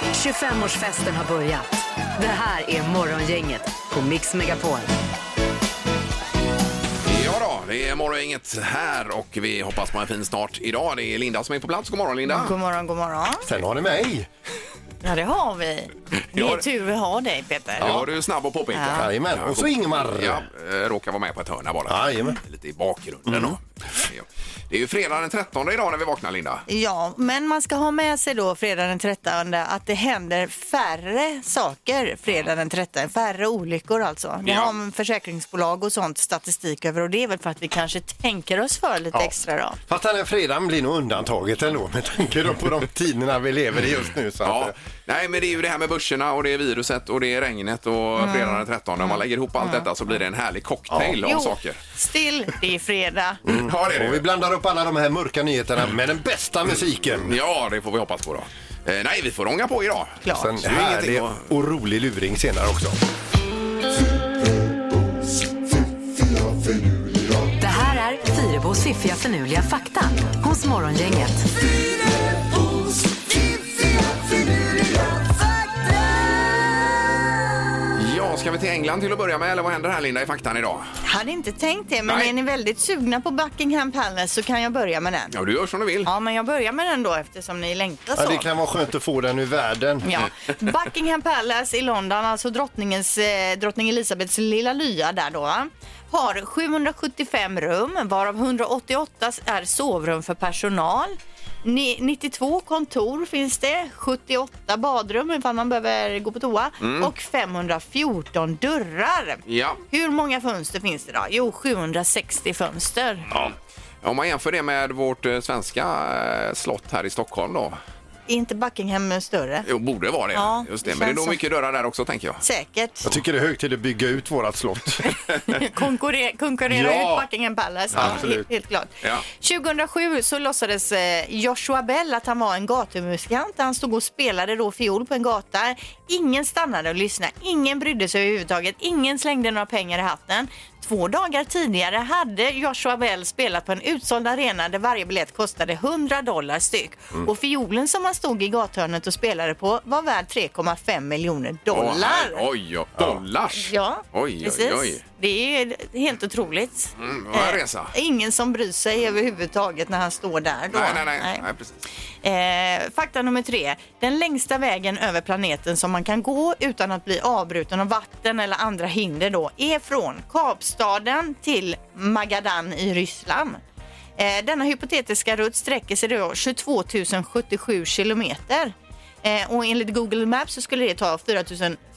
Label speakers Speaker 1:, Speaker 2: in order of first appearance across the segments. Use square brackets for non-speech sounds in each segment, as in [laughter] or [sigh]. Speaker 1: 25-årsfesten har börjat. Det här är Morgongänget på Mix Megapol.
Speaker 2: Ja då, det är morgongänget här och vi hoppas på en fin start idag. Det är Linda som är på plats. God morgon Linda.
Speaker 3: God morgon, god morgon.
Speaker 4: Sen har ni mig.
Speaker 3: Ja, det har vi. Det
Speaker 2: Ja,
Speaker 3: är
Speaker 2: det-
Speaker 3: tur vi har dig, Peter.
Speaker 2: Det var du snabb att påpeka.
Speaker 3: Ja.
Speaker 4: Jajamän. Och så Ingmar.
Speaker 2: Ja, eh, råkar vara med på ett hörn här bara.
Speaker 4: Jajamän. Mm.
Speaker 2: Lite i bakgrunden då. Ja. Det är ju fredag den 13 idag när vi vaknar Linda.
Speaker 3: Ja, men man ska ha med sig då fredag den 13 att det händer färre saker fredag den 13. Färre olyckor alltså. Det
Speaker 2: Ja.
Speaker 3: har försäkringsbolag och sånt statistik över och det är väl för att vi kanske tänker oss för lite extra då.
Speaker 4: Fast den här fredagen blir nog undantaget ändå med tanke då på de tiderna vi lever i just nu. Så att,
Speaker 2: Ja,
Speaker 4: eh,
Speaker 2: nej men det är ju det här med börserna och det är viruset och det är regnet och
Speaker 4: Mm.
Speaker 2: fredagen den 13. När man lägger ihop allt detta så blir det en härlig cocktail av saker. Mm.
Speaker 3: still, det är fredag.
Speaker 2: Ja, det är det.
Speaker 4: eh, Och vi blandar upp alla de här mörka nyheterna med den bästa musiken.
Speaker 2: Ja, det får vi hoppas på då. Eh, nej, vi får ånga på idag.
Speaker 3: Klart.
Speaker 4: Sen
Speaker 2: det är ingenting
Speaker 4: härlig
Speaker 2: att-
Speaker 4: och rolig luring senare också.
Speaker 1: Det här är Fyrebos fiffiga förnuliga fakta hos Morgongänget.
Speaker 2: Ja, ska vi till England till att börja med eller vad händer här Linda i faktan idag?
Speaker 3: Hade inte tänkt det, men
Speaker 2: Nej.
Speaker 3: är ni väldigt sugna på Buckingham Palace så kan jag börja med den.
Speaker 2: Ja, du gör som du vill.
Speaker 3: Ja, men jag börjar med den då eftersom ni längtar så.
Speaker 4: Ja, det kan vara skönt att få den ur världen.
Speaker 3: Ja. Buckingham Palace i London, alltså drottningens, eh, drottning Elisabeths lilla lya där då, va, har 775 rum varav 188 är sovrum för personal. Ni- 92 kontor finns det, 78 badrum ifall man behöver gå på toa och 514 dörrar.
Speaker 2: Ja.
Speaker 3: Hur många fönster finns det då? Jo, 760 fönster.
Speaker 2: Ja. Om man jämför det med vårt eh, svenska eh, slott här i Stockholm då.
Speaker 3: Är inte Buckingham större?
Speaker 2: Jo, borde vara det.
Speaker 3: Ja,
Speaker 2: Just det.
Speaker 3: det
Speaker 2: Men det är
Speaker 3: känns
Speaker 2: nog
Speaker 3: så.
Speaker 2: mycket dörrar där också tänker jag.
Speaker 3: Säkert.
Speaker 4: Jag tycker det är hög tid att bygga ut vårat slott.
Speaker 3: Konkurre konkurrera
Speaker 4: Ja.
Speaker 3: ut Buckingham Palace. Ja,
Speaker 4: Absolut.
Speaker 3: helt, helt klart.
Speaker 2: Ja.
Speaker 3: 2007 så låtsades eh, Joshua Bell att han var en gatumusikant. Han stod och spelade då fiol på en gata. Ingen stannade och lyssnade. Ingen brydde sig överhuvudtaget. Ingen slängde några pengar i hatten. Två dagar tidigare hade Joshua Bell spelat på en utsåld arena där varje biljett kostade 100 dollar styck. Och fiolen som han stod i gathörnet och spelade på var värd 3,5 miljoner dollar.
Speaker 2: Åh, här- oj, oj, dollars!
Speaker 3: Ja,
Speaker 2: oj,
Speaker 3: precis.
Speaker 2: oj, oj.
Speaker 3: Det är helt otroligt.
Speaker 2: Mm, vad en
Speaker 3: Eh,
Speaker 2: resa.
Speaker 3: Ingen som bryr sig överhuvudtaget när han står där. Då.
Speaker 2: Nej, nej, nej. nej. precis.
Speaker 3: Eh, fakta nummer tre. Den längsta vägen över planeten som man kan gå utan att bli avbruten av vatten eller andra hinder då är från Kapstaden till Magadan i Ryssland. Eh, denna hypotetiska rutt sträcker sig då 22 077 kilometer. Eh, och enligt Google Maps så skulle det ta 4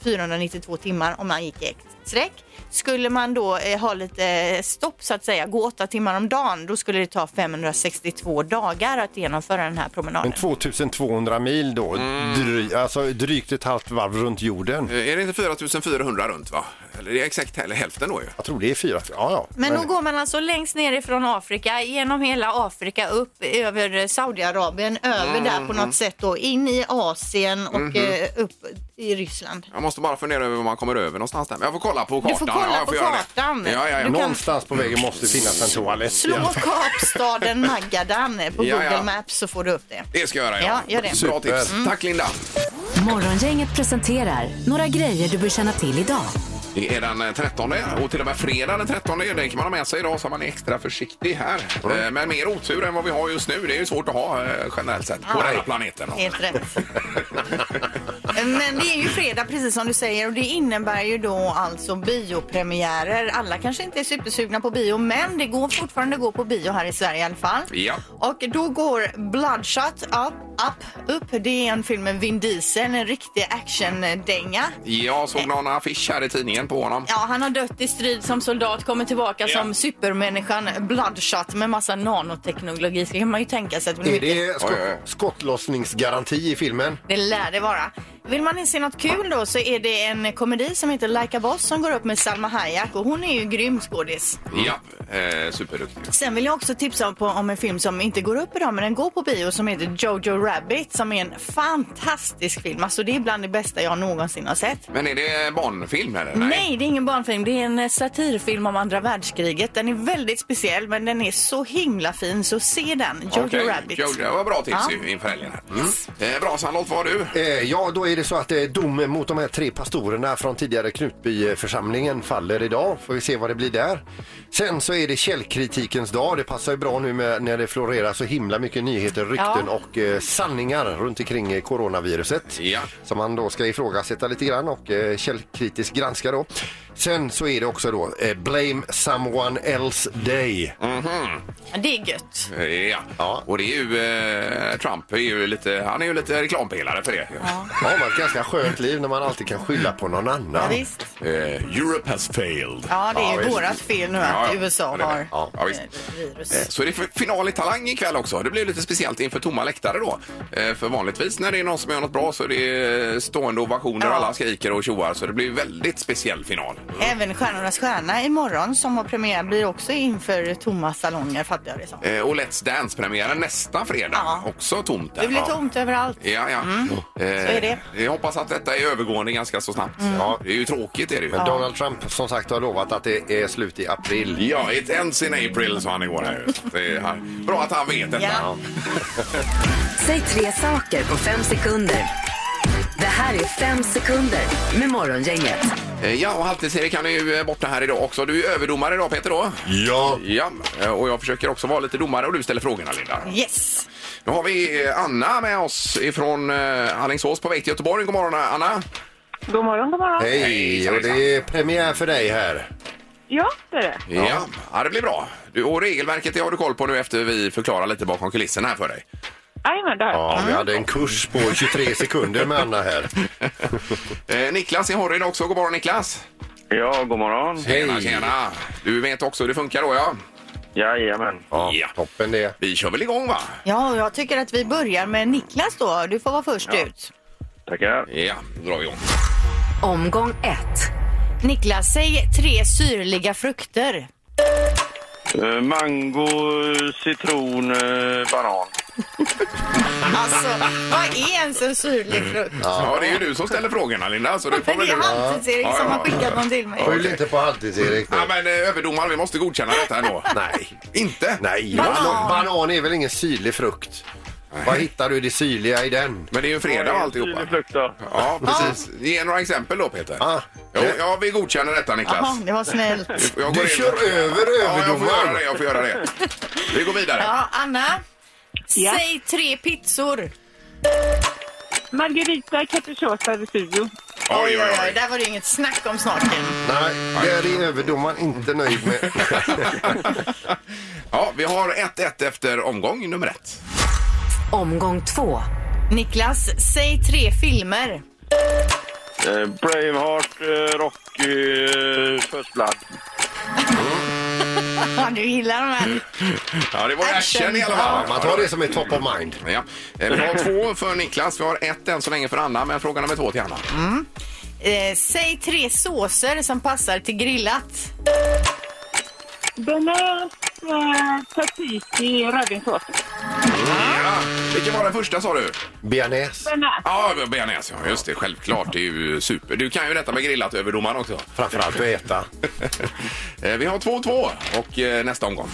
Speaker 3: 492 timmar om man gick i ett sträck. Skulle man då eh, ha lite eh, stopp så att säga, gå åtta timmar om dagen, då skulle det ta 562 dagar att genomföra den här
Speaker 4: Men
Speaker 3: promenaden.
Speaker 4: 2200 mil då, dry, alltså drygt ett halvt varv runt jorden.
Speaker 2: Eh, Är det inte 4400 runt va? Eller det är exakt hä- hälften då ju.
Speaker 4: Jag tror det är fyra. Ja, ja.
Speaker 3: Men då går man alltså längst nerifrån Afrika, genom hela Afrika, upp över eh, Saudiarabien, över
Speaker 2: Mm,
Speaker 3: där på något sätt då, in i Asien och
Speaker 2: Mhm.
Speaker 3: eh, upp i Ryssland.
Speaker 2: Jag måste bara fundera över var man kommer över någonstans där. Men jag får kolla på kartan.
Speaker 3: får kolla
Speaker 2: ja, jag
Speaker 3: på
Speaker 2: göra det.
Speaker 3: kartan.
Speaker 2: Ja, ja, ja.
Speaker 3: Du kan-
Speaker 4: Någonstans på vägen måste finnas en toalett.
Speaker 3: Slå
Speaker 4: i alla fall.
Speaker 3: Kapstaden Magadan eh, på
Speaker 2: Ja,
Speaker 3: Google
Speaker 2: ja.
Speaker 3: Maps så får du upp det.
Speaker 2: Det ska jag göra, ja.
Speaker 3: Ja, gör det. Mm.
Speaker 2: Bra tips.
Speaker 4: Super.
Speaker 2: Tack Linda.
Speaker 1: Morgongänget presenterar några grejer du bör känna till idag.
Speaker 2: Det är den eh, 13 och till och med fredag den 13. Det kan man ha med sig idag så man är extra försiktig här.
Speaker 3: Mm.
Speaker 2: Eh, Men mer otur än vad vi har just nu. Det är ju svårt att ha eh, generellt sett på
Speaker 3: Ja.
Speaker 2: den här planeten.
Speaker 3: Helt rätt. Men det är ju fredag precis som du säger och det innebär ju då alltså biopremiärer. Alla kanske inte är supersugna på bio men det går fortfarande att gå på bio här i Sverige i alla fall.
Speaker 2: Ja.
Speaker 3: Och då går Bloodshot up, up, upp. Det är en film med Vin Diesel, en riktig actiondänga.
Speaker 2: Jag såg någon affisch här i tidningen på honom.
Speaker 3: Ja, han har dött i strid som soldat, kommer tillbaka
Speaker 2: Ja.
Speaker 3: som supermänniskan Bloodshot med massa nanoteknologi. Så kan man ju tänka sig att det blir
Speaker 4: Är det sko-
Speaker 2: Oj, oj, oj.
Speaker 4: skottlossningsgaranti i filmen?
Speaker 3: Det lär det vara. Vill man se något kul då så är det en komedi som heter Like a boss som går upp med Salma Hayek och hon är ju grym skådis.
Speaker 2: Ja, eh, superduktig.
Speaker 3: Sen vill jag också tipsa om, på, om en film som inte går upp idag men den går på bio som heter Jojo Rabbit som är en fantastisk film. Alltså det är bland det bästa jag någonsin har sett.
Speaker 2: Men är det barnfilm eller?
Speaker 3: Nej. det är ingen barnfilm. Det är en eh, satirfilm om andra världskriget. Den är väldigt speciell men den är så himla fin så se den. Jojo
Speaker 2: Okej,
Speaker 3: Rabbit.
Speaker 2: Jojo, det var bra tips
Speaker 3: Ja.
Speaker 2: ju inför helgen. Här. Mm. Eh, bra, Sandholt, vad har du?
Speaker 4: Eh, ja, då är är det så att eh, domen mot de här tre pastorerna från tidigare Knutbyförsamlingen faller idag. Får vi se vad det blir där. Sen så är det källkritikens dag. Det passar ju bra nu med, när det florerar så himla mycket nyheter, rykten
Speaker 3: Ja.
Speaker 4: och eh, sanningar runt omkring eh, coronaviruset.
Speaker 2: Ja.
Speaker 4: Som man då ska ifrågasätta lite grann och eh, källkritiskt granska då. Sen så är det också då eh, Blame someone else day.
Speaker 3: Det är gött.
Speaker 2: Eh, Ja.
Speaker 4: Ja.
Speaker 2: och det är ju eh, Trump är ju lite, han är ju lite reklampelare för det.
Speaker 4: Ja, det var ett ganska skönt liv när man alltid kan skylla på någon
Speaker 3: Ja,
Speaker 4: annan.
Speaker 3: visst.
Speaker 2: Eh, Europe has failed.
Speaker 3: Ja, det är
Speaker 4: Ja,
Speaker 3: ju
Speaker 4: visst.
Speaker 3: vårat fel nu att
Speaker 2: Ja, ja.
Speaker 3: USA
Speaker 2: Det är det.
Speaker 3: har
Speaker 2: Ja, ja, visst.
Speaker 3: eh, virus.
Speaker 2: Eh, Så det är f- final i Talang ikväll också. Det blir lite speciellt inför tomma läktare då. Eh, För vanligtvis när det är någon som gör något bra så är det eh, stående ovationer och
Speaker 3: Ja.
Speaker 2: alla skriker och tjoar. Så det blir väldigt speciell final.
Speaker 3: Även Stjärnornas stjärna imorgon som har premiär blir också inför tomma salonger fattar jag det som.
Speaker 2: Eh, Och Let's Dance-premiären nästa fredag.
Speaker 3: Ja.
Speaker 2: Också tomt där.
Speaker 3: Det blir
Speaker 2: Ja.
Speaker 3: tomt överallt.
Speaker 2: Ja, ja. Eh,
Speaker 3: Så är det. Mm.
Speaker 2: Jag hoppas att detta är övergående ganska så snabbt. Ja, det är ju tråkigt är det ju.
Speaker 4: Men Donald Trump som sagt har lovat att det är slut i april.
Speaker 2: Ja, it ends in April sa han igår. Här. Det är här. Bra att han vet detta.
Speaker 3: Ja.
Speaker 1: Säg tre saker på fem sekunder. Det här är fem sekunder med Morgongänget.
Speaker 2: Eh, Ja, och Halvtids-Erik han är ju eh, borta här idag också. Du är överdomare idag Peter då.
Speaker 4: Ja.
Speaker 2: Ja, eh, och jag försöker också vara lite domare och du ställer frågorna Linda.
Speaker 3: Yes!
Speaker 2: Nu har vi eh, Anna med oss ifrån eh, Alingsås på väg till Göteborg. God morgon Anna!
Speaker 5: God morgon, god morgon.
Speaker 4: Hej, och det är premiär för dig här.
Speaker 5: Ja, det är det.
Speaker 2: Ja. ja, det blir bra. Du, och regelverket det har du koll på nu efter vi förklarar lite bakom kulisserna här för dig.
Speaker 5: Jajamän, det har jag.
Speaker 4: Ja, vi hade en kurs på 23 sekunder med Anna här.
Speaker 2: Eh, Niklas i Horrid också. God morgon Niklas!
Speaker 6: Ja, god morgon.
Speaker 2: Tjena, tjena! Du vet också hur det funkar då ja?
Speaker 6: Jajamän.
Speaker 4: Ja,
Speaker 2: Ja.
Speaker 4: toppen det.
Speaker 2: Vi kör väl igång va?
Speaker 3: Ja, och jag tycker att vi börjar med Niklas då. Du får vara först ut.
Speaker 6: Tackar.
Speaker 2: Ja, då drar vi igång.
Speaker 1: Omgång ett.
Speaker 3: Niklas, säg tre syrliga frukter.
Speaker 6: Eh, mango, citron, eh, banan.
Speaker 3: Alltså, vad är ens en syrlig frukt?
Speaker 2: Mm. Ja, det är ju du som ställer frågorna Linda. Så det får
Speaker 3: Men
Speaker 2: väl
Speaker 3: det är
Speaker 2: du...
Speaker 3: Halvtids-Erik
Speaker 2: Ja,
Speaker 3: som
Speaker 2: ja,
Speaker 3: har
Speaker 2: ja,
Speaker 3: skickat
Speaker 2: ja.
Speaker 3: någon till mig.
Speaker 4: Skyll inte på halvtids-Erik nu.
Speaker 2: Ja, men eh, överdomare, vi måste godkänna detta ändå.
Speaker 4: Nej.
Speaker 2: Inte?
Speaker 4: Nej,
Speaker 3: Banan.
Speaker 4: banan. banan är väl ingen syrlig frukt? Vad hittar du det syrliga i den?
Speaker 2: Men det är ju en fredag och alltihopa.
Speaker 6: Syrlig frukt då.
Speaker 2: Ja, precis. Ge några exempel då, Peter.
Speaker 4: Ah.
Speaker 2: Jo, ja, vi godkänner detta, Niklas.
Speaker 3: Jaha, det var snällt.
Speaker 2: Jag
Speaker 4: Du
Speaker 2: in-
Speaker 4: kör över
Speaker 2: Ja, jag får göra
Speaker 4: överdomaren.
Speaker 2: det. Jag får göra det. Vi går vidare.
Speaker 3: Ja, Anna,
Speaker 5: Ja.
Speaker 3: säg tre pizzor.
Speaker 5: Margarita capricciosa Vesuvio.
Speaker 2: Oj, oj, oj.
Speaker 3: Där var det ju inget snack om snaken.
Speaker 4: Nej, det är överdomaren inte nöjd med.
Speaker 2: Ja, vi har 1-1 efter omgång nummer ett.
Speaker 1: Omgång två.
Speaker 3: Niklas, säg tre filmer.
Speaker 6: Eh, Braveheart, eh, Rocky, eh, First Blood.
Speaker 3: Ja, du gillar de här.
Speaker 2: Ja, det var
Speaker 3: Action.
Speaker 2: action i alla fall.
Speaker 4: [laughs] Ja, man tar det som är top of mind.
Speaker 2: Ja. Eh, Vi har två för Niklas, vi har ett än så länge för Anna, men fråga nummer två till Anna.
Speaker 4: Mm.
Speaker 3: Eh, säg tre såser som passar till grillat.
Speaker 5: Bearnaise, eh, tzatziki, rödvinssås.
Speaker 2: Ja. Vilken var den första sa du?
Speaker 4: Bearnaise
Speaker 5: Bearnaise.
Speaker 2: Ja, bearnaise. Ja, just det. Självklart. Det är ju super. Du kan ju detta med grillat överdomaren också.
Speaker 4: framförallt att äta.
Speaker 2: Eh, Vi har 2-2 och eh, nästa omgång.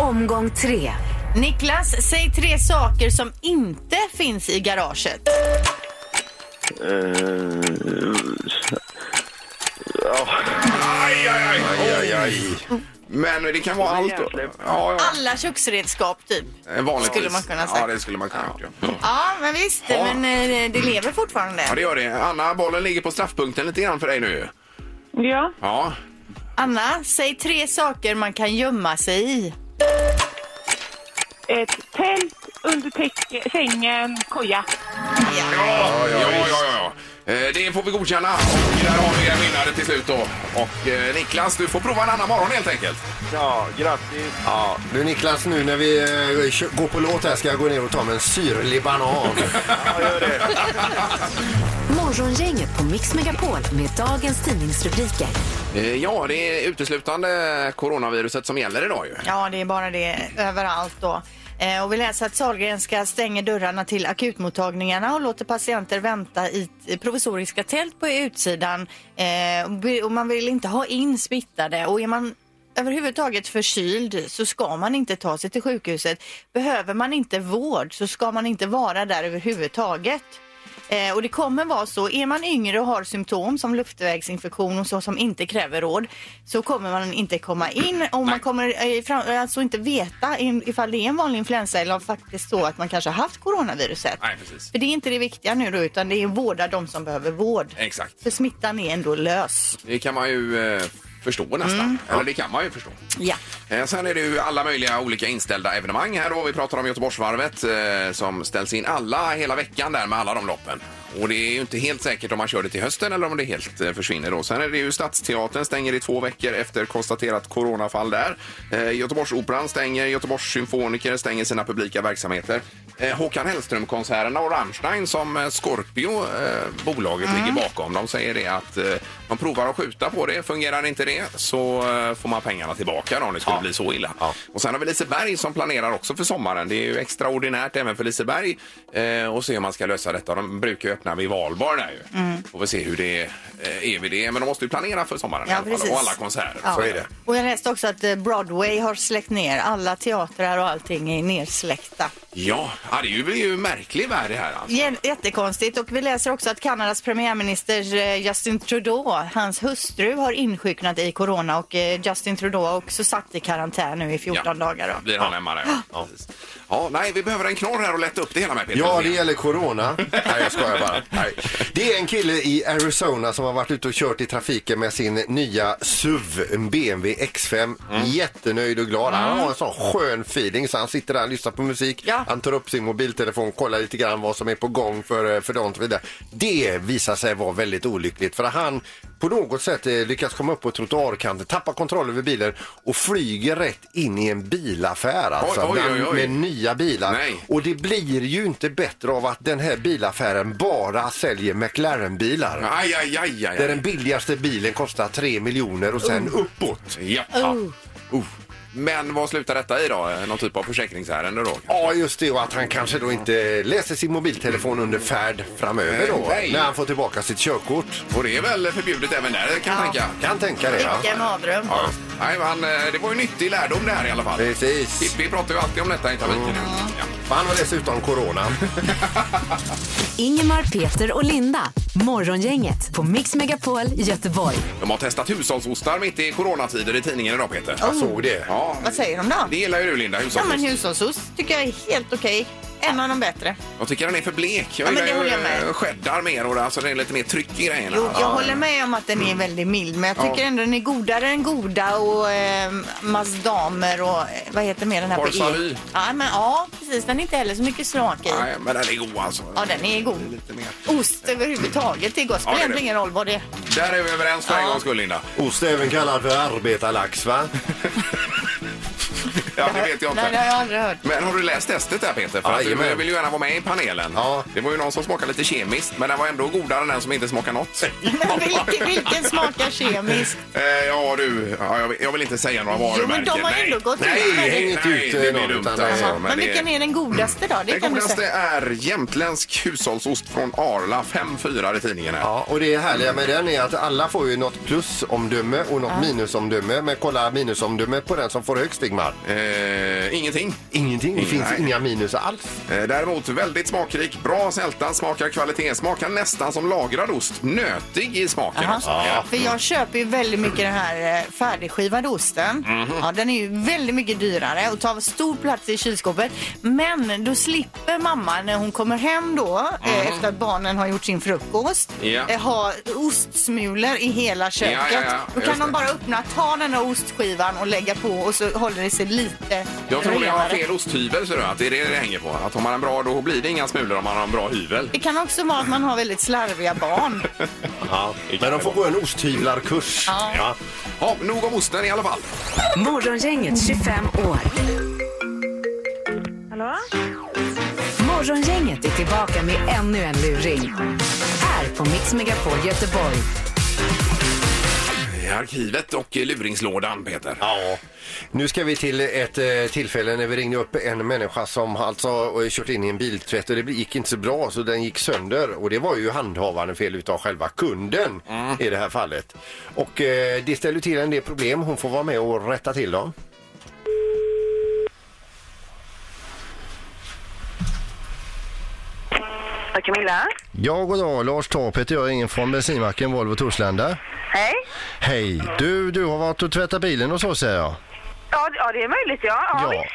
Speaker 1: Omgång tre.
Speaker 3: Niklas, säg tre saker som inte finns i garaget.
Speaker 6: Eh, ja,
Speaker 2: Aj, aj, aj. Men det kan vara allt. då.
Speaker 6: Hjärnsläpp.
Speaker 2: Ja, ja.
Speaker 3: Alla köksredskap, typ.
Speaker 2: Eh, Vanligtvis.
Speaker 3: Skulle man kunna säga.
Speaker 2: Ja, det skulle man kunna ja. Ja.
Speaker 3: Ja, men visst.
Speaker 2: Ja.
Speaker 3: Men eh, det lever fortfarande.
Speaker 2: ja, det gör det. Anna, bollen ligger på straffpunkten lite grann för dig nu.
Speaker 5: Ja,
Speaker 2: Ja.
Speaker 3: Anna, säg tre saker man kan gömma sig i.
Speaker 5: ett tält under täcke, sängen, koja.
Speaker 2: Ja, ja, ja. ja, ja. Eh, Det får vi godkänna. Och där har vi en vinnare till slut då. Och eh, Niklas, du får prova en annan morgon helt enkelt.
Speaker 6: ja, grattis.
Speaker 4: Ja, du Niklas, nu när vi eh, kö- går på låt här ska jag gå ner och ta mig en syrlig banan.
Speaker 6: Ja, gör det.
Speaker 1: Morgongänget på Mix Megapol med dagens tidningsrubriker.
Speaker 2: Eh, Ja, det är uteslutande coronaviruset som gäller idag ju.
Speaker 3: Ja, det är bara det överallt då. Eh, Och vi läser att Sahlgrenska stänger dörrarna till akutmottagningarna och låter patienter vänta i t- provisoriska tält på utsidan. Eh, och be- Och man vill inte ha in smittade. Och är man överhuvudtaget förkyld så ska man inte ta sig till sjukhuset. Behöver man inte vård så ska man inte vara där överhuvudtaget. Eh, och det kommer vara så, är man yngre och har symptom som luftvägsinfektion och så som inte kräver vård så kommer man inte komma in och man kommer eh, fram, alltså inte veta in- ifall det är en vanlig influensa eller om faktiskt så att man kanske har haft coronaviruset.
Speaker 2: Nej, precis.
Speaker 3: För det är inte det viktiga nu då utan det är att vårda de som behöver vård.
Speaker 2: Exakt.
Speaker 3: För smittan är ändå lös.
Speaker 2: Det kan man ju eh, förstå nästan. Eller det kan man ju förstå.
Speaker 3: Ja.
Speaker 2: Eh, Sen är det ju alla möjliga olika inställda evenemang här då. Vi pratar om Göteborgsvarvet eh, som ställs in alla hela veckan där med alla de loppen. Och det är ju inte helt säkert om man kör det till hösten eller om det helt eh, försvinner då. Sen är det ju Stadsteatern stänger i två veckor efter konstaterat coronafall där. Eh, Göteborgsoperan stänger, Göteborgs symfoniker stänger sina publika verksamheter. Eh, Håkan Hellström-konserterna och Rammstein som eh, Scorpio, eh, bolaget, ligger bakom. De säger det att eh, de provar att skjuta på det. Fungerar inte det så eh, får man pengarna tillbaka då, om det skulle bli så illa. Och sen har vi Liseberg som planerar också för sommaren. Det är ju extraordinärt även för Liseberg eh, och se hur man ska lösa detta. De brukar ju öppna vid valbar där ju.
Speaker 3: Mm.
Speaker 2: Får vi se hur det eh, är vid det. Men de måste ju planera för sommaren i
Speaker 3: Ja,
Speaker 2: alla fall.
Speaker 3: precis.
Speaker 2: och alla konserter.
Speaker 3: Ja.
Speaker 2: Så är det.
Speaker 3: Och jag läste också att eh, Broadway har släckt ner. Alla teatrar och allting är nersläckta.
Speaker 2: Ja, ja, det är ju, det är ju märklig värld det här alltså.
Speaker 3: Jä- Jättekonstigt. Och vi läser också att Kanadas premiärminister eh, Justin Trudeau, hans hustru har insjuknat i corona och eh, Justin Trudeau har också satt i karantän nu i 14 dagar. Då.
Speaker 2: Blir han hemma där ja. Ja. precis. ja. Nej, vi behöver en knorr här och lätta upp det hela med Peter.
Speaker 4: Ja, det gäller corona. Nej, jag skojar bara. Nej. Det är en kille i Arizona som har varit ute och kört i trafiken med sin nya SUV, en BMW X5.
Speaker 2: Mm.
Speaker 4: Jättenöjd och glad. Han har en sån skön feeling så han sitter där och lyssnar på musik.
Speaker 3: Ja.
Speaker 4: Han tar upp sin mobiltelefon, kollar lite grann vad som är på gång för, för dagen och så vidare. Det visar sig vara väldigt olyckligt för han på något sätt eh, lyckas komma upp på trottoarkanten, tappar kontroll över bilen och flyger rätt in i en bilaffär alltså,
Speaker 2: oj, oj, oj.
Speaker 4: med nya bilar.
Speaker 2: Nej.
Speaker 4: Och det blir ju inte bättre av att den här bilaffären bara säljer McLaren-bilar.
Speaker 2: Aj, aj, aj, aj.
Speaker 4: Där den billigaste bilen kostar 3 miljoner och sen uppåt.
Speaker 2: Ja.
Speaker 3: Oh.
Speaker 2: Uh. Men vad slutar detta i då? Någon typ av försäkringsärende då?
Speaker 4: Ja, just det. Och att han kanske då inte läser sin mobiltelefon under färd framöver då.
Speaker 2: Nej.
Speaker 4: När han får tillbaka sitt körkort.
Speaker 2: Och det är väl förbjudet även där kan jag tänka.
Speaker 4: Kan tänka det, ja.
Speaker 3: Vilken mardröm.
Speaker 2: Ja. Nej, men han, eh, det var ju nyttig lärdom det här i alla fall.
Speaker 4: Precis.
Speaker 2: Vi pratar ju alltid om detta i trafiken.
Speaker 3: Mm.
Speaker 2: nu. Ja.
Speaker 4: Och Han har dessutom corona.
Speaker 1: Ingemar, Peter och Linda. Morgongänget på Mix Megapol Göteborg.
Speaker 2: De har testat hushållsostar mitt i coronatider i tidningen idag Peter. Alltså,
Speaker 4: Jag såg det.
Speaker 2: Ja.
Speaker 3: Vad säger de då?
Speaker 2: Det gillar ju du Linda,
Speaker 3: Oh. Ja, men
Speaker 2: hushållsost.
Speaker 3: hushållsost tycker jag är helt okej. En av de bättre.
Speaker 2: Jag tycker den är för blek.
Speaker 3: Ja,
Speaker 2: Jag
Speaker 3: men det
Speaker 2: gillar ju
Speaker 3: håller jag med.
Speaker 2: eh, cheddar mer och det, alltså, det är lite mer tryck i grejerna.
Speaker 3: Jo, jag
Speaker 2: Ja. Mm.
Speaker 3: håller med om att den är väldigt mild, men jag tycker
Speaker 2: Ja.
Speaker 3: ändå den är godare än goda och eh, Mazdamer och eh, vad heter mer den här på
Speaker 2: Parsaly.
Speaker 3: E? Ja, men, ja, precis. Den är inte heller så mycket smak i.
Speaker 2: Nej, men den är god alltså.
Speaker 3: Ja, den är god.
Speaker 2: Lite mer.
Speaker 3: Ost överhuvudtaget är gott.
Speaker 2: Ja,
Speaker 3: Spelar
Speaker 2: det är det.
Speaker 3: egentligen ingen roll vad det är.
Speaker 2: Där är vi överens för en
Speaker 3: Ja.
Speaker 2: gångs skull Linda.
Speaker 4: Ost är även kallad för arbetarlax, va?
Speaker 2: Ja, det vet jag inte.
Speaker 3: Nej, det har jag aldrig hört. [laughs]
Speaker 2: Men har du läst testet där Peter? För
Speaker 4: Ja,
Speaker 2: att du
Speaker 4: jajamän.
Speaker 2: vill ju gärna vara med i panelen.
Speaker 4: Ja.
Speaker 2: Det var ju någon som smakade lite kemiskt men den var ändå godare än den som inte smakade
Speaker 4: [laughs]
Speaker 2: något.
Speaker 3: Men vilken, vilken smakar kemiskt?
Speaker 2: Eh, ja du, ja, jag, vill, jag vill inte säga några varumärken.
Speaker 3: Jo, men de har ändå gått
Speaker 4: Nej,
Speaker 3: ut med
Speaker 4: häng
Speaker 3: det.
Speaker 4: inte
Speaker 2: Nej,
Speaker 4: ut
Speaker 2: det blir
Speaker 4: eh, någon.
Speaker 2: dumt,
Speaker 4: Utan,
Speaker 2: alltså.
Speaker 4: eh,
Speaker 2: men
Speaker 3: Men
Speaker 2: det-
Speaker 3: vilken är den godaste då? Det
Speaker 2: Den
Speaker 3: kan du
Speaker 2: godaste
Speaker 3: säga.
Speaker 2: är jämtländsk hushållsost från Arla, 5-4 i tidningen här.
Speaker 4: Ja, och det härliga med den är att alla får ju något plusomdöme och något minusomdöme. Men kolla minusomdömet på den som får högst, Ingmar.
Speaker 2: Eh, ingenting.
Speaker 4: Ingenting. Det finns
Speaker 2: Nej.
Speaker 4: inga minus alls.
Speaker 2: Eh, Däremot väldigt smakrik, bra sälta, smakar kvalitet, smakar nästan som lagrad ost, nötig i smaken
Speaker 3: Jaha.
Speaker 2: också. Ja.
Speaker 3: För jag köper ju väldigt mycket den här eh, färdigskivad osten.
Speaker 2: Mhm.
Speaker 3: Ja, den är ju väldigt mycket dyrare och tar stor plats i kylskåpet. Men då slipper mamma när hon kommer hem då eh, efter att barnen har gjort sin frukost
Speaker 2: Mhm. Ja.
Speaker 3: eh, ha ostsmulor i hela köket.
Speaker 2: Ja, ja, ja.
Speaker 3: Då
Speaker 2: Just
Speaker 3: kan de
Speaker 2: det.
Speaker 3: bara öppna, ta den här ostskivan och lägga på och så håller det sig lite
Speaker 2: Jag tror jag har
Speaker 3: renare.
Speaker 2: fel osthyvel, ser du, att det är det det hänger på. Att om man har en bra, då blir det inga smulor om man har en bra hyvel.
Speaker 3: Det kan också vara att man har väldigt slarviga barn.
Speaker 4: Men de får gå en osthyvlarkurs. Ja.
Speaker 2: Ja, nog om osten i alla fall.
Speaker 1: Morgongänget 25 år.
Speaker 5: Hallå?
Speaker 1: Morgongänget är tillbaka med ännu en luring. Här på Mix Megapol Göteborg.
Speaker 2: I arkivet och i luringslådan, Peter.
Speaker 4: Ja. Nu ska vi till ett eh, tillfälle när vi ringde upp en människa som alltså har kört in i en biltvätt och det gick inte så bra så den gick sönder och det var ju handhavande fel utav själva kunden i det här fallet. Och eh, det ställer till en del problem. Hon får vara med och rätta till dem.
Speaker 7: Första Camilla.
Speaker 4: Ja, god dag. Lars Torp heter jag, ingen från bensinmacken Volvo Torslanda.
Speaker 7: Hej.
Speaker 4: Hej! Du, du har varit och tvättat bilen och så säger jag.
Speaker 7: Ja, det- ja, det är möjligt. Ja, ja.
Speaker 4: Ja.
Speaker 7: visst.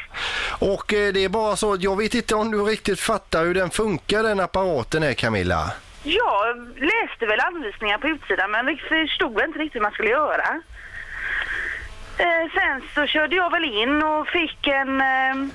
Speaker 4: Och eh, det är bara så att jag vet inte om du riktigt fattar hur den funkar den apparaten är Camilla.
Speaker 7: Jag läste väl anvisningar på utsidan men förstod inte riktigt hur man skulle göra. Eh, sen så körde jag väl in och fick en... Eh,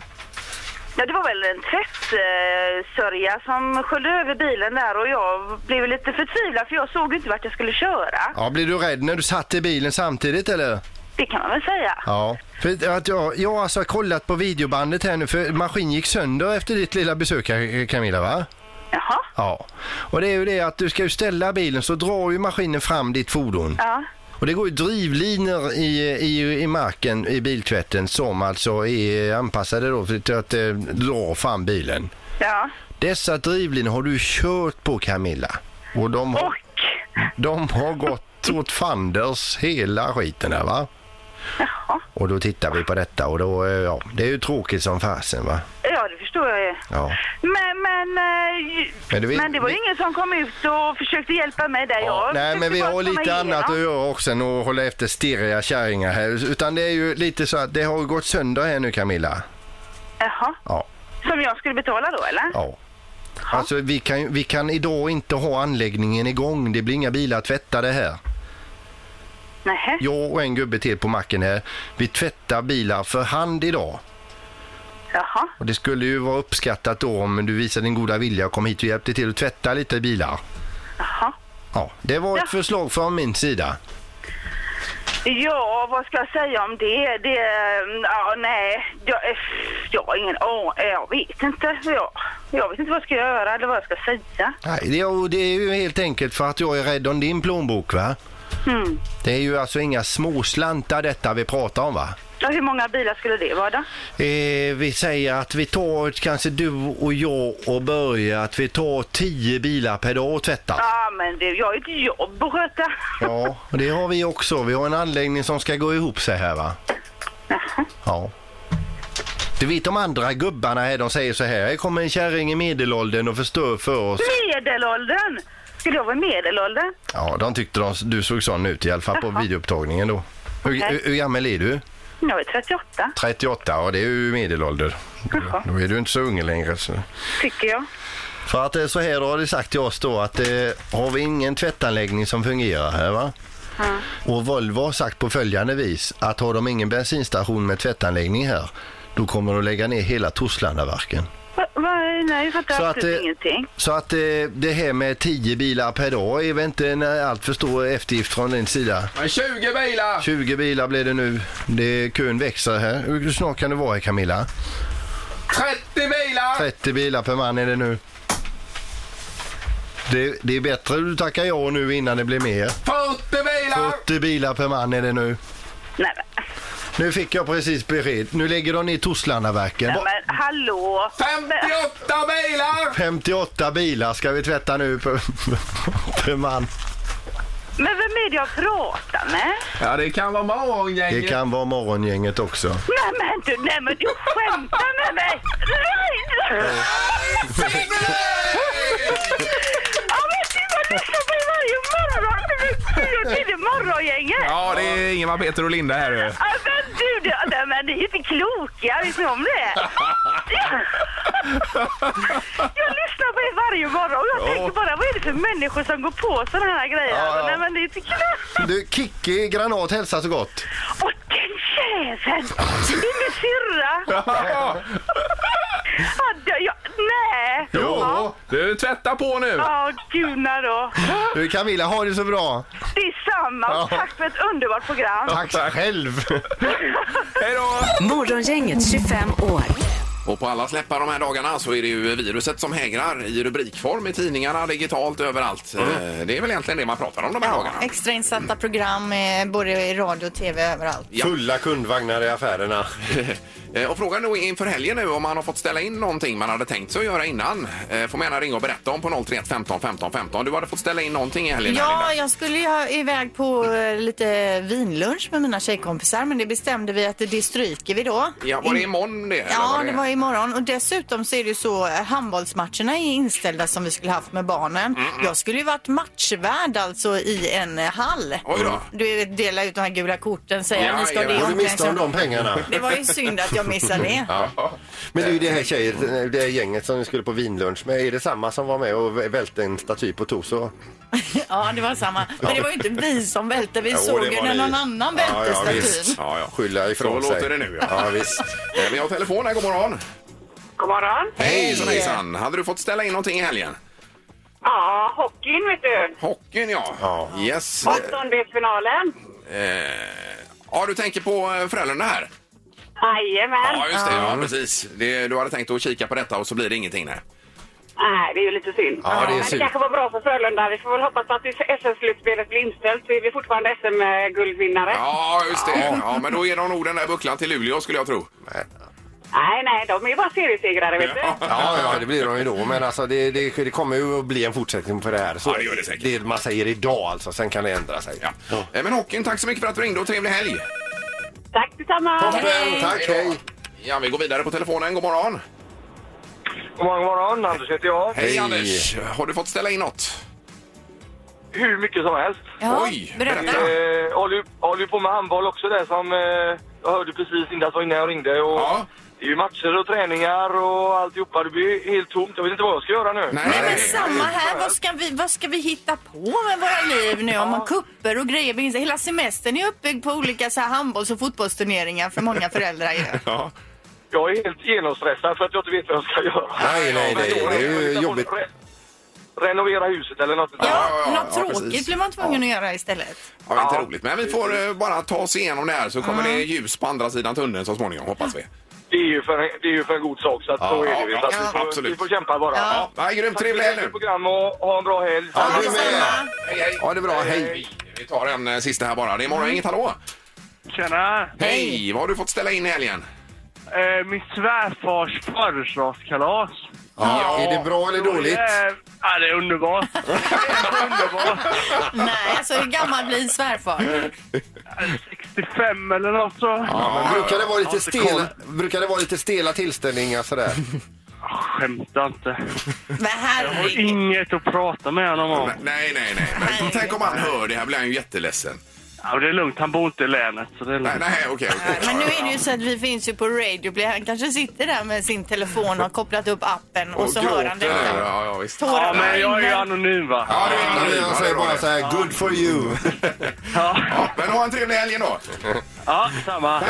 Speaker 7: ja, det var väl en tvättsörja eh, sörja som sköljde över bilen där och jag blev lite förtvivlad för jag såg inte vart jag skulle köra.
Speaker 4: Ja, blir du rädd när du satt i bilen samtidigt eller?
Speaker 7: Det kan man väl säga.
Speaker 4: Ja. För att jag, jag har alltså kollat på videobandet här nu för maskin gick sönder efter ditt lilla besök här, Camilla va?
Speaker 7: Jaha.
Speaker 4: Ja. Och det är ju det att du ska ju ställa bilen så drar ju maskinen fram ditt fordon.
Speaker 7: Ja.
Speaker 4: Och det går ju drivlinor i, i, i marken i biltvätten som alltså är anpassade då för- till att eh, dra fram bilen.
Speaker 7: Ja.
Speaker 4: Dessa drivlinor har du kört på Camilla. Och de har,
Speaker 7: Och...
Speaker 4: de har gått åt fanders hela skiten här va?
Speaker 7: Jaha.
Speaker 4: Och då tittar vi på detta och då, eh, ja, det är ju tråkigt som fasen va?
Speaker 7: Ja, det förstår jag ju.
Speaker 4: Ja.
Speaker 7: Men, men, eh,
Speaker 4: Men
Speaker 7: men,
Speaker 4: det
Speaker 7: det,
Speaker 4: vi-
Speaker 7: var ju
Speaker 4: vi-
Speaker 7: ingen som kom ut och försökte hjälpa mig där. jag
Speaker 4: Nej, men
Speaker 7: försökte
Speaker 4: vi
Speaker 7: bara
Speaker 4: har
Speaker 7: komma
Speaker 4: lite
Speaker 7: igenom.
Speaker 4: annat att göra också än att hålla efter stirriga kärringar här. Utan det är ju lite så att det har gått sönder här nu Camilla.
Speaker 7: Jaha.
Speaker 4: Ja.
Speaker 7: Som jag skulle betala då, eller?
Speaker 4: Ja. Alltså vi kan, ju- vi kan idag inte ha anläggningen igång. Det blir inga bilar tvättade här.
Speaker 7: Nähä.
Speaker 4: Jag och en gubbe till på macken här. Vi tvättar bilar för hand idag.
Speaker 7: Jaha.
Speaker 4: Och det skulle ju vara uppskattat då om du visar din goda vilja och kom hit och hjälpte till att tvätta lite bilar.
Speaker 7: Jaha.
Speaker 4: Ja, det var ett
Speaker 7: Ja.
Speaker 4: förslag från min sida.
Speaker 7: Ja, vad ska jag säga om det? Det... eh, Ja, nej. Jag, eh, jag har ingen aning. Jag vet inte. Jag, jag vet inte vad jag ska göra eller vad jag ska säga.
Speaker 4: Nej, det, och det är ju helt enkelt för att jag är rädd om din plånbok va?
Speaker 7: Mm.
Speaker 4: Det är ju alltså inga småslantar detta vi pratar om va?
Speaker 7: Ja, hur många bilar skulle det vara då?
Speaker 4: Eh, vi säger att vi tar kanske du och jag och börjar att vi tar tio bilar per dag och tvättar.
Speaker 7: Ja, men det, jag har ju ett jobb att sköta.
Speaker 4: Ja, och det har vi också. Vi har en anläggning som ska gå ihop sig här va? Ja. Du vet de andra gubbarna här, de säger så här. Här kommer en kärring i medelåldern och förstör för oss.
Speaker 7: Medelåldern! Skulle jag vara i medelåldern?
Speaker 4: Ja, de tyckte de, du såg sån ut i alla fall på videoupptagningen då. Hur,
Speaker 7: Okej.
Speaker 4: hur, hur gammal är du?
Speaker 7: Jag är 38,
Speaker 4: 38, ja det är ju medelålder.
Speaker 7: Jaha.
Speaker 4: Då är du inte så ung längre. Så.
Speaker 7: tycker jag.
Speaker 4: För att det är så här då har det sagt till oss då att eh, har vi ingen tvättanläggning som fungerar här va? Och Volvo har sagt på följande vis att har de ingen bensinstation med tvättanläggning här då kommer de att lägga ner hela Torslandaverken.
Speaker 7: Va, va, nej, jag
Speaker 4: Så
Speaker 7: fattar
Speaker 4: att,
Speaker 7: absolut
Speaker 4: eh,
Speaker 7: ingenting.
Speaker 4: Så att eh, det här med 10 bilar per dag är väl inte en eh, alltför stor eftergift från din sida.
Speaker 2: Men 20 bilar!
Speaker 4: 20 bilar blir det nu. Det, kön växer här. Hur snart kan det vara här Camilla?
Speaker 2: 30 bilar!
Speaker 4: 30 bilar per man är det nu. Det, det är bättre du tackar ja nu innan det blir mer.
Speaker 2: 40 bilar!
Speaker 4: 40 bilar per man är det nu.
Speaker 7: Nej, men,
Speaker 4: Nu fick jag precis besked. Nu lägger de ner Torslandaverken.
Speaker 7: nej, men hallå!
Speaker 2: 58 bilar!
Speaker 4: 58 bilar ska vi tvätta nu per, [laughs] per man.
Speaker 7: Men vem är det jag pratar med?
Speaker 2: Ja, det kan vara
Speaker 4: Det
Speaker 2: morgongänget.
Speaker 4: kan vara morgongänget också.
Speaker 7: Nej men du, nej men du skämtar med mig! Nej! Jag vet inte vad du lyssnar på varje morgon! Det är det morgongänget!
Speaker 2: Ja, det är Ingemar, Peter och Linda här. du.
Speaker 7: Ja, men du, du nej, men ni är ju inte kloka, vet ni om det? Jag lyssnar på er varje morgon och jag tänker bara, vad är det för människor som går på sådana här grejer?
Speaker 4: Ja, ja.
Speaker 7: Nej men det är inte klokt!
Speaker 4: Du, Kikki Granat hälsar så gott.
Speaker 7: Och den jäveln! Det är min syrra! Ja, det- jag- Nej! Ja.
Speaker 2: Du, tvätta på nu!
Speaker 7: Ja, gudna då.
Speaker 4: Du Camilla, ha det så bra.
Speaker 7: Detsamma. Tack för ett underbart program.
Speaker 4: Tack själv.
Speaker 2: Hej då!
Speaker 1: Morgongänget 25 år.
Speaker 2: Och på alla släppar de här dagarna så är det ju viruset som hägrar i rubrikform i tidningarna, digitalt, överallt. Eh, Det är väl egentligen det man pratar om de här dagarna.
Speaker 3: Extrainsatta program eh, både i radio och tv överallt.
Speaker 2: Ja.
Speaker 4: Fulla kundvagnar i affärerna.
Speaker 2: [laughs] Eh, Och frågan då inför helgen nu om man har fått ställa in någonting man hade tänkt sig att göra innan. Eh, Får man gärna ringa och berätta om på 031 15 15 15. Du hade fått ställa in någonting i helgen här,
Speaker 3: Ja,
Speaker 2: Linda.
Speaker 3: jag skulle ju ha iväg på eh, lite vinlunch med mina tjejkompisar men det bestämde vi att det stryker vi då.
Speaker 2: Ja, var det imorgon det? eller
Speaker 3: Ja, det var imorgon. Och dessutom så är det ju så, eh, handbollsmatcherna är inställda som vi skulle haft med barnen.
Speaker 2: Mm,
Speaker 3: Jag skulle ju varit matchvärd alltså i en eh, hall.
Speaker 2: Oj då.
Speaker 3: Du vet, dela ut de här gula korten, säga
Speaker 2: Ja,
Speaker 3: ni ska ha det i
Speaker 2: jajamän.
Speaker 4: Går du miste om
Speaker 3: omklädningsrummet.
Speaker 4: de pengarna?
Speaker 3: Det var ju synd att jag missade det.
Speaker 2: Ja.
Speaker 4: Men det är ju det här tjejet, det här gänget som ni skulle på vinlunch med. Är det samma som var med och välte en staty på Torso?
Speaker 3: [laughs] Ja, det var samma. Men det var ju inte vi som välte, vi såg
Speaker 2: det
Speaker 3: ju
Speaker 2: var
Speaker 3: när
Speaker 2: ni.
Speaker 3: någon annan
Speaker 4: Ja,
Speaker 3: välte
Speaker 4: ja,
Speaker 3: statyn.
Speaker 4: visst.
Speaker 2: Ja, ja.
Speaker 4: Skylla
Speaker 2: Så
Speaker 4: ifrån sig.
Speaker 2: låter det nu ja.
Speaker 4: Ja, visst.
Speaker 2: Eh, Vi har telefon här, god morgon.
Speaker 5: God morgon.
Speaker 2: Hejsan hejsan. Hade du fått ställa in någonting i helgen?
Speaker 5: Ja, hockeyn vet du.
Speaker 2: Hockeyn ja.
Speaker 4: Ja.
Speaker 2: Yes.
Speaker 5: Åttondelsfinalen.
Speaker 2: Eh, Ja, du tänker på eh, Frölunda här?
Speaker 5: Jajamän.
Speaker 2: Ja, just det. Ja, precis. Det, du hade tänkt att kika på detta och så blir det ingenting. Nej.
Speaker 5: Nej, det är ju lite synd.
Speaker 4: Ja, det är
Speaker 5: Men det
Speaker 4: synd.
Speaker 5: kanske var bra för Frölunda. Vi får väl hoppas att SM-slutspelet blir inställt. Vi är fortfarande SM-guldvinnare.
Speaker 2: Ja, just det. Ja, men då ger de nog den där bucklan till Luleå skulle jag tro.
Speaker 4: Nej.
Speaker 5: Nej, nej, de är ju bara seriesegrare, vet du.
Speaker 4: Ja, ja, det blir de ju då. Men alltså, det, det, det kommer ju att bli en fortsättning på det här. Så
Speaker 2: Ja, det gör det säkert.
Speaker 4: Det man säger idag alltså, sen kan det ändra sig.
Speaker 2: Ja. Eh, Men hockeyn, tack så mycket för att du ringde och trevlig helg.
Speaker 5: Tack detsamma!
Speaker 4: Toppen, tack,
Speaker 2: då.
Speaker 4: hej.
Speaker 2: Ja, vi går vidare på telefonen. God morgon.
Speaker 6: God morgon, god morgon. Anders heter jag.
Speaker 2: Hej,
Speaker 4: Hej.
Speaker 2: Anders. Har du fått ställa in något?
Speaker 6: Hur mycket som helst.
Speaker 3: Ja,
Speaker 2: Oj,
Speaker 3: berätta.
Speaker 2: berätta.
Speaker 6: Eh, håller, ju- håller ju på med handboll också där som eh, jag hörde precis innan så innan jag ringde. Och
Speaker 2: Ja.
Speaker 6: Det är ju matcher och träningar och alltihopa. Det blir ju helt tomt. Jag vet inte vad jag ska göra nu.
Speaker 3: Nej, men samma här. Vad ska, vi, vad ska vi hitta på med våra liv nu? Om man kupper och grejer. finns- Hela semestern är uppbyggd på olika så här handbolls och fotbollsturneringar för många föräldrar ju.
Speaker 2: Ja.
Speaker 6: Jag är helt genomstressad för att jag inte vet vad jag ska göra.
Speaker 4: Nej, nej, nej. Det är ju
Speaker 6: Jag får
Speaker 4: jobbigt.
Speaker 6: re- Renovera huset eller något. sånt där.
Speaker 3: Ja,
Speaker 2: ja, ja,
Speaker 3: något tråkigt
Speaker 2: precis.
Speaker 3: blir man tvungen att göra istället.
Speaker 2: Ja, inte roligt. Men vi får eh, bara ta oss igenom det här så kommer det ljus på andra sidan tunneln så småningom, hoppas vi.
Speaker 6: Det, är ju för, det är ju för en god sak så att så är det. ju.
Speaker 2: ja,
Speaker 6: så att
Speaker 2: ja,
Speaker 6: vi, får,
Speaker 2: absolut.
Speaker 6: vi får kämpa bara.
Speaker 2: Ja, ja grymt.
Speaker 6: Tack för
Speaker 2: Trevlig helg
Speaker 6: ett
Speaker 2: nu.
Speaker 6: program och ha en bra helg.
Speaker 4: Ja,
Speaker 3: Ja,
Speaker 4: du är
Speaker 3: detsamma.
Speaker 4: med.
Speaker 2: Hej, hej.
Speaker 4: Ja, det är bra. Hej.
Speaker 2: Vi tar en eh, sista här bara. Det är morgon, inget hallå.
Speaker 8: Tjena!
Speaker 2: Hej, vad har du fått ställa in i helgen?
Speaker 8: Eh, min svärfars födelsedagskalas.
Speaker 4: Ja, är det bra eller dåligt?
Speaker 8: Eh, ja, det är underbart.
Speaker 2: [laughs]
Speaker 3: Nej, alltså hur gammal blir svärfar?
Speaker 8: 65 Eh, eller något så.
Speaker 4: Ja, men brukar, det vara lite
Speaker 8: inte
Speaker 4: stela, brukar det vara lite stela tillställningar sådär?
Speaker 8: Skämta inte.
Speaker 3: Men
Speaker 8: Jag har
Speaker 3: herregud.
Speaker 8: inget att prata med honom om.
Speaker 2: Nej, nej, nej. Men tänk om han hör det här blir han ju jätteledsen.
Speaker 8: Ja, det är lugnt, han bor inte i länet. Så det är
Speaker 2: Nej,
Speaker 8: lugnt.
Speaker 2: nej, okej, okej.
Speaker 3: Men nu är det ju så att vi finns ju på radio. Play. Han kanske sitter där med sin telefon och har kopplat upp appen och så hör han
Speaker 2: gråter nu.
Speaker 3: detta.
Speaker 2: Ja, ja, visst.
Speaker 8: Ja,
Speaker 3: Tårarna
Speaker 8: men jag är ju
Speaker 3: rinner.
Speaker 8: anonym va?
Speaker 2: Ja, det är
Speaker 4: Ja, men
Speaker 2: anonym.
Speaker 4: jag
Speaker 2: Ja, det
Speaker 4: säger
Speaker 2: är bra
Speaker 4: bara
Speaker 2: det.
Speaker 4: så här, good for you.
Speaker 8: Ja,
Speaker 2: Ja, men ha en trevlig helg då.
Speaker 8: ja samma.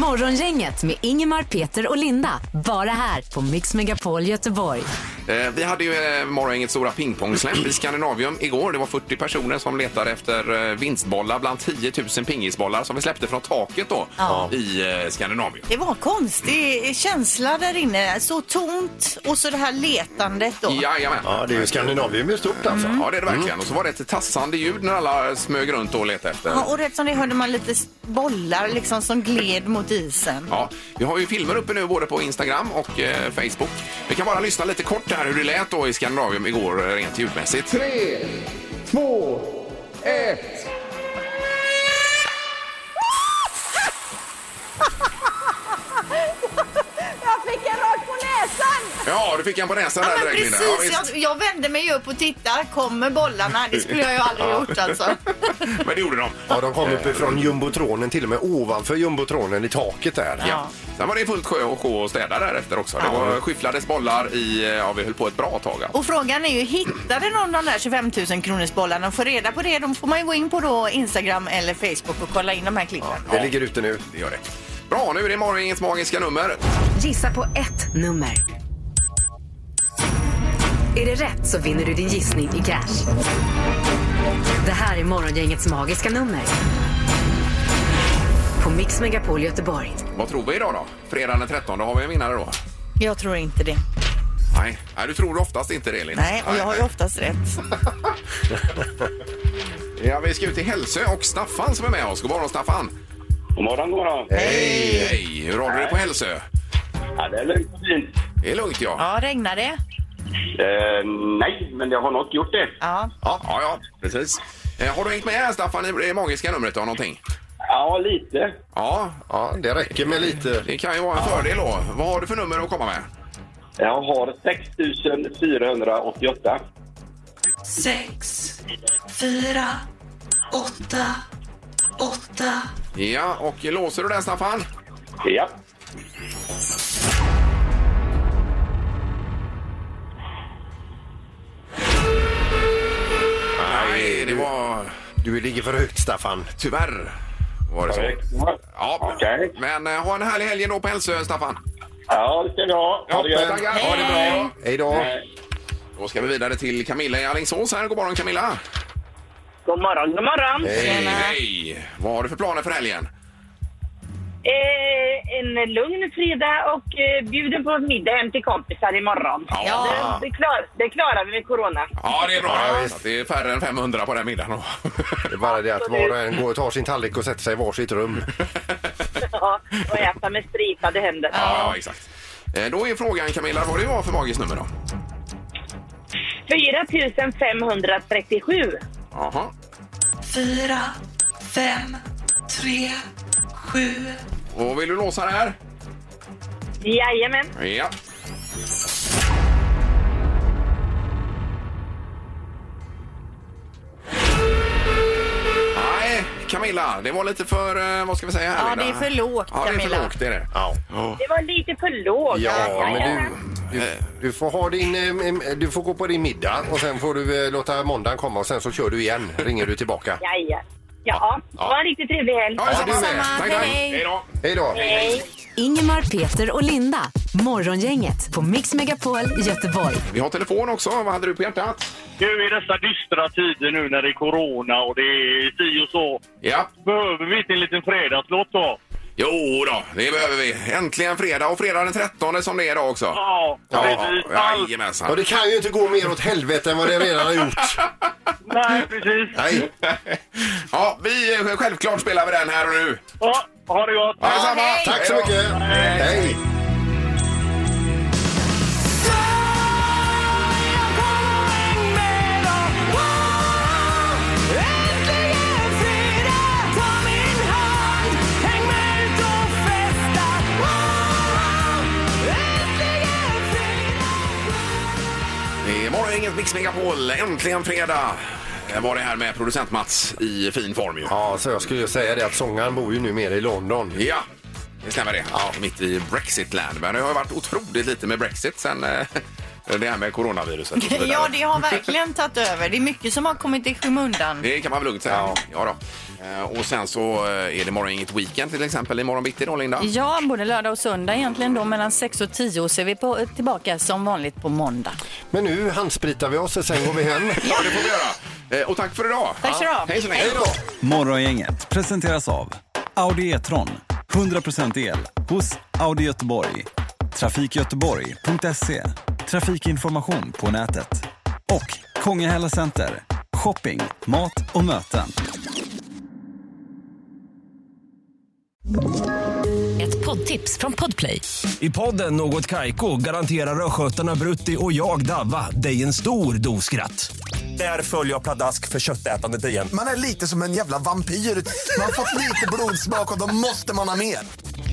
Speaker 1: Morgongänget med Ingemar, Peter och Linda. Bara här på Mix Megapol Göteborg.
Speaker 2: Eh, vi hade ju eh, morgongängets stora pingpongsläpp i Skandinavium igår. Det var 40 personer som letade efter eh, vinstbollar bland 10 000 pingisbollar som vi släppte från taket då
Speaker 3: Ja.
Speaker 2: i eh, Skandinavium.
Speaker 3: Det var en konstig känsla där inne. Så tomt och så det här letandet då.
Speaker 2: Jajamän. Ja.
Speaker 4: Ja, det är ju Skandinavium är stort alltså.
Speaker 2: ja, det är det verkligen. Och så var det ett tassande ljud när alla smög runt och letade efter.
Speaker 3: Ja, och rätt som det hörde man lite s- bollar liksom som gled mot isen.
Speaker 2: Ja, vi har ju filmer uppe nu både på Instagram och eh, Facebook. Vi kan bara lyssna lite kort här hur det lät då i Skandinavium igår eh, rent ljudmässigt.
Speaker 5: [laughs] Jag fick en rakt på näsan!
Speaker 2: Ja, du fick en på näsan
Speaker 3: Ja,
Speaker 2: där
Speaker 3: men
Speaker 2: direkt Linda. Ja,
Speaker 3: precis.
Speaker 2: visst.
Speaker 3: Jag, jag vände mig upp och tittade. Kommer bollarna? Det skulle jag ju aldrig gjort alltså.
Speaker 2: Men det gjorde de.
Speaker 4: Ja, de kom uppifrån jumbotronen, till och med ovanför jumbotronen i taket där.
Speaker 2: Ja. Sen var det fullt sjö och sjå och städa därefter också. Det var, skyfflades bollar i, eh, ja vi höll på ett bra tag. alltså.
Speaker 3: Och frågan är ju, hittade någon de där 25 000 kronorsbollarna? Och För reda på det, de får man ju gå in på då Instagram eller Facebook och kolla in de här klippen.
Speaker 4: Det ligger ute nu.
Speaker 2: Det gör det. Bra, nu är det morgonens magiska nummer.
Speaker 1: Gissa på ett nummer. Är det rätt så vinner du din gissning i cash. Det här är Morgongängets magiska nummer. På Mix Megapol Göteborg.
Speaker 2: Vad tror vi idag då? Fredagen den 13, har vi en vinnare då?
Speaker 3: Jag tror inte det.
Speaker 2: Nej, Nej du tror oftast inte det Linda.
Speaker 3: Nej, och jag har ju
Speaker 2: nej.
Speaker 3: oftast rätt.
Speaker 2: Ja, vi ska ut till Hälsö och Staffan som är med oss. God morgon Staffan!
Speaker 9: God morgon, god morgon.
Speaker 2: Hej! Hej! Hur har du det på Hälsö?
Speaker 9: Ja, det är lugnt och fint.
Speaker 2: Det är lugnt, ja.
Speaker 3: Ja, regnar det?
Speaker 9: Eh, nej, men jag har nog gjort det.
Speaker 3: Ja.
Speaker 2: Ja, ja, ja precis. Eh, Har du hängt med här, Staffan, i det magiska numret då, någonting?
Speaker 9: Ja, lite.
Speaker 2: Ja,
Speaker 4: Ja, det räcker med lite.
Speaker 2: det kan ju vara en fördel då. Vad har du för nummer att komma med?
Speaker 9: Jag har 6488.
Speaker 10: sex, fyra, åtta, åtta.
Speaker 2: Ja, och låser du den, Staffan?
Speaker 9: Ja.
Speaker 2: Nej, det var...
Speaker 4: Du ligger för högt, Staffan.
Speaker 2: Tyvärr var det så. Ja,
Speaker 9: Okej.
Speaker 2: men eh, ha en härlig helg ändå på Hälsö, Staffan.
Speaker 9: Ja, det ska vi ha. Ha det
Speaker 2: Ja,
Speaker 9: gött.
Speaker 2: tackar. Ha det bra.
Speaker 4: Hej då.
Speaker 2: Då ska vi vidare till Camilla i Alingsås här. God morgon Camilla!
Speaker 5: God morgon, god morgon.
Speaker 2: Hej! Hej! Vad har du för planer för helgen?
Speaker 5: Eh, en lugn fredag och eh, bjuden på middag hem till kompisar imorgon.
Speaker 2: Ja.
Speaker 5: Det, klar, det klarar vi med corona.
Speaker 2: Ja, det är bra.
Speaker 4: Ja,
Speaker 2: Ja,
Speaker 4: visst.
Speaker 2: Det är färre än 500 på den middagen.
Speaker 4: Det är bara det att var och en går och tar sin tallrik och sätter sig i varsitt rum.
Speaker 5: Ja, och äta med stritade händer.
Speaker 2: [laughs] ja, exakt. Eh, Då är frågan Camilla, vad det var för magiskt nummer då?
Speaker 5: 4537.
Speaker 2: Jaha.
Speaker 10: Fyra, fem, tre, sju.
Speaker 2: Och vill du låsa det här?
Speaker 5: Jajamän.
Speaker 2: Ja. Nej, Camilla, det var lite för, eh, vad ska vi säga här
Speaker 3: Ja, det är för lågt,
Speaker 2: Ja, det är för
Speaker 3: Camilla.
Speaker 2: lågt, det är det.
Speaker 4: Ja.
Speaker 5: Det var lite för lågt.
Speaker 4: Ja, men du, du, du får ha din... eh, em, Du får gå på din middag och sen får du eh, låta måndagen komma och sen så kör du igen. Ringer du tillbaka.
Speaker 5: Jaja. Ja, det var en riktigt trevlig helg.
Speaker 2: Ja, detsamma.
Speaker 4: du
Speaker 2: Tack, tack.
Speaker 4: med.
Speaker 3: Hej.
Speaker 2: Hej då.
Speaker 4: Hej då.
Speaker 1: Ingemar, Peter och Linda. Morgongänget på Mix Megapol Göteborg.
Speaker 2: Vi har telefon också. Vad hade du på hjärtat?
Speaker 8: Nu i dessa dystra tider nu när det är corona och det är si och så.
Speaker 2: Ja.
Speaker 8: Behöver vi inte en liten fredagslåt då?
Speaker 2: Jo då, det behöver vi. Äntligen fredag och fredag den 13 som det är idag också.
Speaker 8: Ja, precis. Allt.
Speaker 4: Ja,
Speaker 2: jajamensan.
Speaker 4: det kan ju inte gå mer åt helvete än vad det redan har gjort.
Speaker 8: Nej, precis.
Speaker 4: Nej.
Speaker 2: Ja, vi eh, självklart spelar vi den här och nu.
Speaker 8: Ja, ha det gott.
Speaker 2: Ja, detsamma.
Speaker 4: Tack så
Speaker 2: Hej då.
Speaker 4: mycket. Hej.
Speaker 2: Det är morgongänget Mix Megapol. Äntligen fredag. Jag var det här med producent Mats i fin form ju.
Speaker 4: Ja, så jag skulle ju säga det att sångaren bor ju nu mer i London.
Speaker 2: Ja, det stämmer det. Mitt i Brexitland. Men det har ju varit otroligt lite med Brexit sen eh, det här med coronaviruset. och så vidare.
Speaker 3: [laughs] [laughs] Ja, det har verkligen tagit över. Det är mycket som har kommit i skymundan.
Speaker 2: Det kan man väl lugnt säga. Ja. då. Eh, Och sen så eh, är det morgongänget Weekend till exempel imorgon bitti då Linda.
Speaker 3: Ja, både lördag och söndag egentligen då mellan 6 och 10 och så är vi på, tillbaka som vanligt på måndag.
Speaker 4: Men nu handspritar vi oss och sen går vi hem.
Speaker 2: Ja, det får vi göra. Eh, Och tack för idag.
Speaker 3: Tack så
Speaker 2: Ja.
Speaker 3: bra.
Speaker 2: Hej så länge.
Speaker 4: Hej då.
Speaker 11: Morgongänget presenteras av Audi E-tron. 100% el hos Audi Göteborg. Trafikgöteborg.se. Trafikinformation på nätet. Och Kongahälla Center. Shopping, mat och möten.
Speaker 1: Ett poddtips från Podplay.
Speaker 12: I podden Något Kaiko garanterar östgötarna Brutti och jag, Davva, dig en stor dos skratt. Där följer jag pladask för köttätandet igen.
Speaker 13: Man är lite som en jävla vampyr. Man har fått lite blodsmak och då måste man ha mer.